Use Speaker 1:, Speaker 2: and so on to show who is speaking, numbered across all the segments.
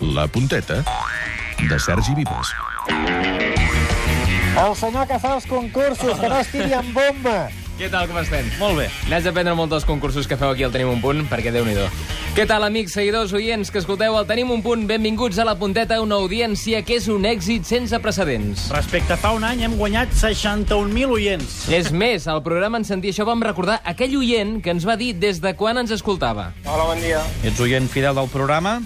Speaker 1: La punteta de Sergi Vives.
Speaker 2: El senyor que fa els concursos, que no estigui amb bomba.
Speaker 3: Què tal, com estem?
Speaker 4: Molt bé.
Speaker 3: N'haig d'aprendre molt dels concursos que feu aquí al Tenim un punt, perquè déu nhi Què tal, amics, seguidors, oients que escolteu el Tenim un punt? Benvinguts a La Punteta, una audiència que és un èxit sense precedents.
Speaker 4: Respecte a fa un any hem guanyat 61.000 oients.
Speaker 3: És més, al programa en sentir això vam recordar aquell oient que ens va dir des de quan ens escoltava.
Speaker 5: Hola, bon dia.
Speaker 4: Ets oient fidel del programa?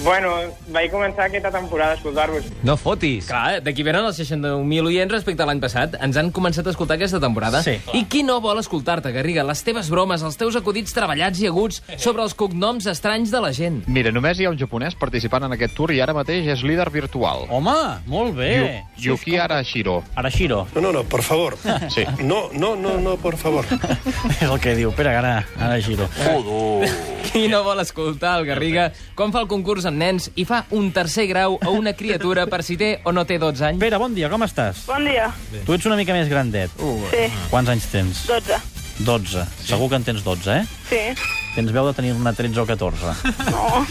Speaker 5: Bueno, vaig començar aquesta temporada a escoltar-vos.
Speaker 4: No fotis.
Speaker 3: Clar, eh, d'aquí venen els 61.000 oients respecte a l'any passat. Ens han començat a escoltar aquesta temporada.
Speaker 4: Sí.
Speaker 3: I qui no vol escoltar-te, Garriga? Les teves bromes, els teus acudits treballats i aguts sobre els cognoms estranys de la gent.
Speaker 6: Mira, només hi ha un japonès participant en aquest tour i ara mateix és líder virtual.
Speaker 4: Home, molt bé.
Speaker 6: Yu Yuki Arashiro.
Speaker 4: Arashiro.
Speaker 7: No, no, no, por favor.
Speaker 6: Sí.
Speaker 7: No, no, no, no, por favor.
Speaker 4: És el que diu. Espera, ara, Arashiro.
Speaker 3: Qui no vol escoltar el Garriga com fa el concurs amb nens i fa un tercer grau a una criatura per si té o no té 12 anys?
Speaker 4: Pere, bon dia, com estàs?
Speaker 8: Bon dia.
Speaker 4: Tu ets una mica més grandet.
Speaker 8: Sí,
Speaker 4: Quants anys tens?
Speaker 8: 12.
Speaker 4: 12. Segur que en tens 12, eh?
Speaker 8: Sí,
Speaker 4: Tens veu de tenir-ne 13 o 14.
Speaker 8: no,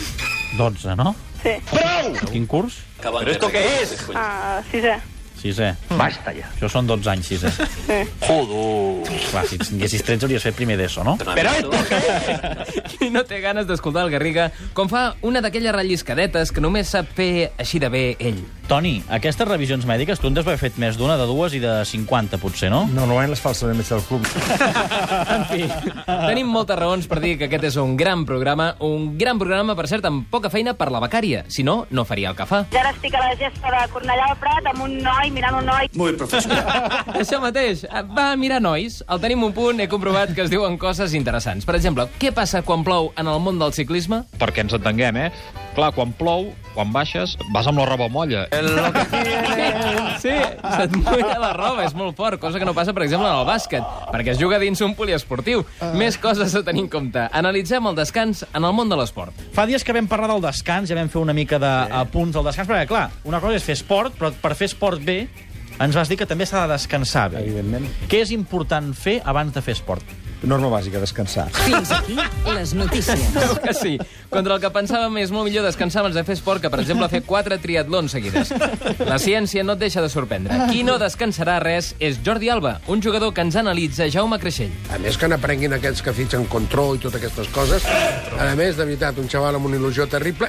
Speaker 4: 12, no?
Speaker 8: sí.
Speaker 4: Quin curs?
Speaker 8: Ah, sisè.
Speaker 4: Sisè.
Speaker 6: Mm. Basta ja.
Speaker 4: Això són 12 anys, sisè.
Speaker 8: Sí.
Speaker 4: Clar, si tinguessis 13 hauries fet primer d'ESO, no?
Speaker 3: Qui no té ganes d'escoltar el Garriga com fa una d'aquelles relliscadetes que només sap fer així de bé ell?
Speaker 4: Toni, aquestes revisions mèdiques tu en deus haver fet més d'una, de dues i de 50, potser, no?
Speaker 9: Normalment les falses de metge del club.
Speaker 3: En fi, tenim moltes raons per dir que aquest és un gran programa, un gran programa, per cert, amb poca feina per la becària. Si no, no faria el que fa.
Speaker 8: Ja ara estic a la gespa de Cornellà al Prat amb un noi, mirant un noi.
Speaker 7: Muy profesional.
Speaker 3: Això mateix, va a mirar nois. Al tenim un punt, he comprovat que es diuen coses interessants. Per exemple, què passa quan plou en el món del ciclisme?
Speaker 6: Perquè ens entenguem, eh? Clar, quan plou, quan baixes, vas amb la roba molla.
Speaker 3: Sí, se't mulla la roba, és molt fort, cosa que no passa, per exemple, en el bàsquet, perquè es juga dins un poliesportiu. Més coses a tenir en compte. Analitzem el descans en el món de l'esport.
Speaker 4: Fa dies que vam parlar del descans, ja vam fer una mica d'apunts del descans, perquè, clar, una cosa és fer esport, però per fer esport bé ens vas dir que també s'ha de descansar bé.
Speaker 9: Evidentment.
Speaker 4: Què és important fer abans de fer esport?
Speaker 9: Norma bàsica, descansar.
Speaker 10: Fins aquí les notícies.
Speaker 3: Creu que sí. Contra el que pensàvem és molt millor descansar abans de fer esport que, per exemple, fer quatre triatlons seguides. La ciència no et deixa de sorprendre. Qui no descansarà res és Jordi Alba, un jugador que ens analitza Jaume Creixell.
Speaker 11: A més que n'aprenguin aquests que fitxen control i totes aquestes coses. A més, de veritat, un xaval amb una il·lusió terrible.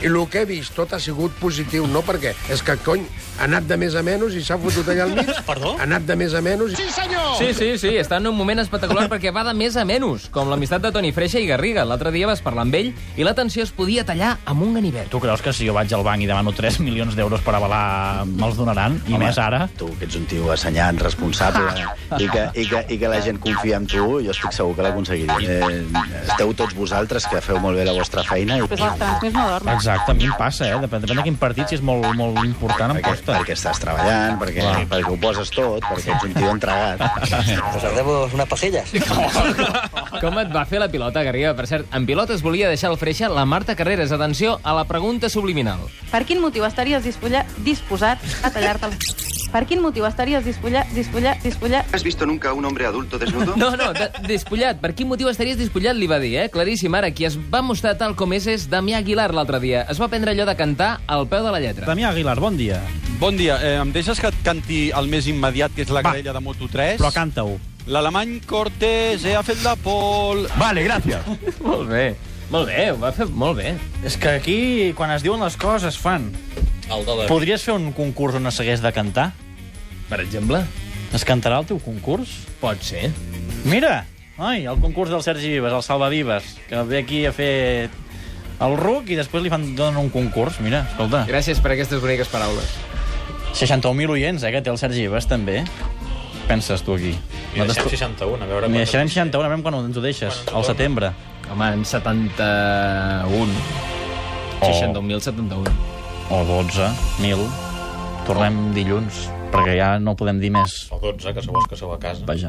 Speaker 11: I el que he vist tot ha sigut positiu, no perquè... És que, cony, ha anat de més a menys i s'ha fotut allà al mig. Perdó? Ha anat de més a menys. Sí, senyor!
Speaker 3: Sí, sí, sí, està en un moment espectacular perquè va de més a menys, com l'amistat de Toni Freixa i Garriga. L'altre dia vas parlar amb ell i la tensió es podia tallar amb un ganivet.
Speaker 4: Tu creus que si jo vaig al banc i demano 3 milions d'euros per avalar, me'ls donaran? I Home. més ara?
Speaker 12: Tu, que ets un tio assenyant, responsable, i que, i, que, i que la gent confia en tu, jo estic segur que l'aconseguiré. Eh, esteu tots vosaltres, que feu molt bé la vostra feina. I...
Speaker 4: Exacte, a mi em passa, eh? Depèn, depèn de quin partit, si és molt, molt important, em
Speaker 12: Perquè,
Speaker 4: costa.
Speaker 12: perquè estàs treballant, perquè, perquè ho poses tot, perquè ets un tio entregat.
Speaker 3: Com et va fer la pilota, Garriga? Per cert, en pilotes volia deixar el Freixa la Marta Carreras. Atenció a la pregunta subliminal.
Speaker 8: Per quin motiu estaries dispolla... disposat a tallar-te el... Per quin motiu estaries dispolla... dispolla... dispolla...
Speaker 3: No, no, de, despullat. Per quin motiu estaries despullat, li va dir, eh? Claríssim, ara, qui es va mostrar tal com és és Damià Aguilar l'altre dia. Es va prendre allò de cantar al peu de la lletra.
Speaker 4: Damià Aguilar, bon dia.
Speaker 9: Bon dia, eh, em deixes que et canti el més immediat, que és la
Speaker 4: Va.
Speaker 9: querella de Moto3?
Speaker 4: Però canta-ho.
Speaker 9: L'alemany Cortés eh, ha fet la pol... Vale, gràcies.
Speaker 3: Molt bé. Molt bé, ho va fer molt bé.
Speaker 4: És que aquí, quan es diuen les coses, es fan. Podries fer un concurs on es hagués de cantar?
Speaker 3: Per exemple?
Speaker 4: Es cantarà el teu concurs?
Speaker 3: Pot ser.
Speaker 4: Mira! Ai, el concurs del Sergi Vives, el Salva Vives, que ve aquí a fer el ruc i després li fan donen un concurs. Mira, escolta,
Speaker 3: Gràcies per aquestes boniques paraules.
Speaker 4: 61.000 oients, eh, que té el Sergi Vives, també. Penses tu aquí? I deixem 61, a veure... N'hi deixarem 61, a veure quan ens ho deixes, al setembre.
Speaker 3: Home, en 71.
Speaker 4: Oh.
Speaker 3: 61.071.
Speaker 4: O 12.000. Tornem dilluns, perquè ja no podem dir més.
Speaker 9: O 12, que segons que sou a casa.
Speaker 4: Vaja.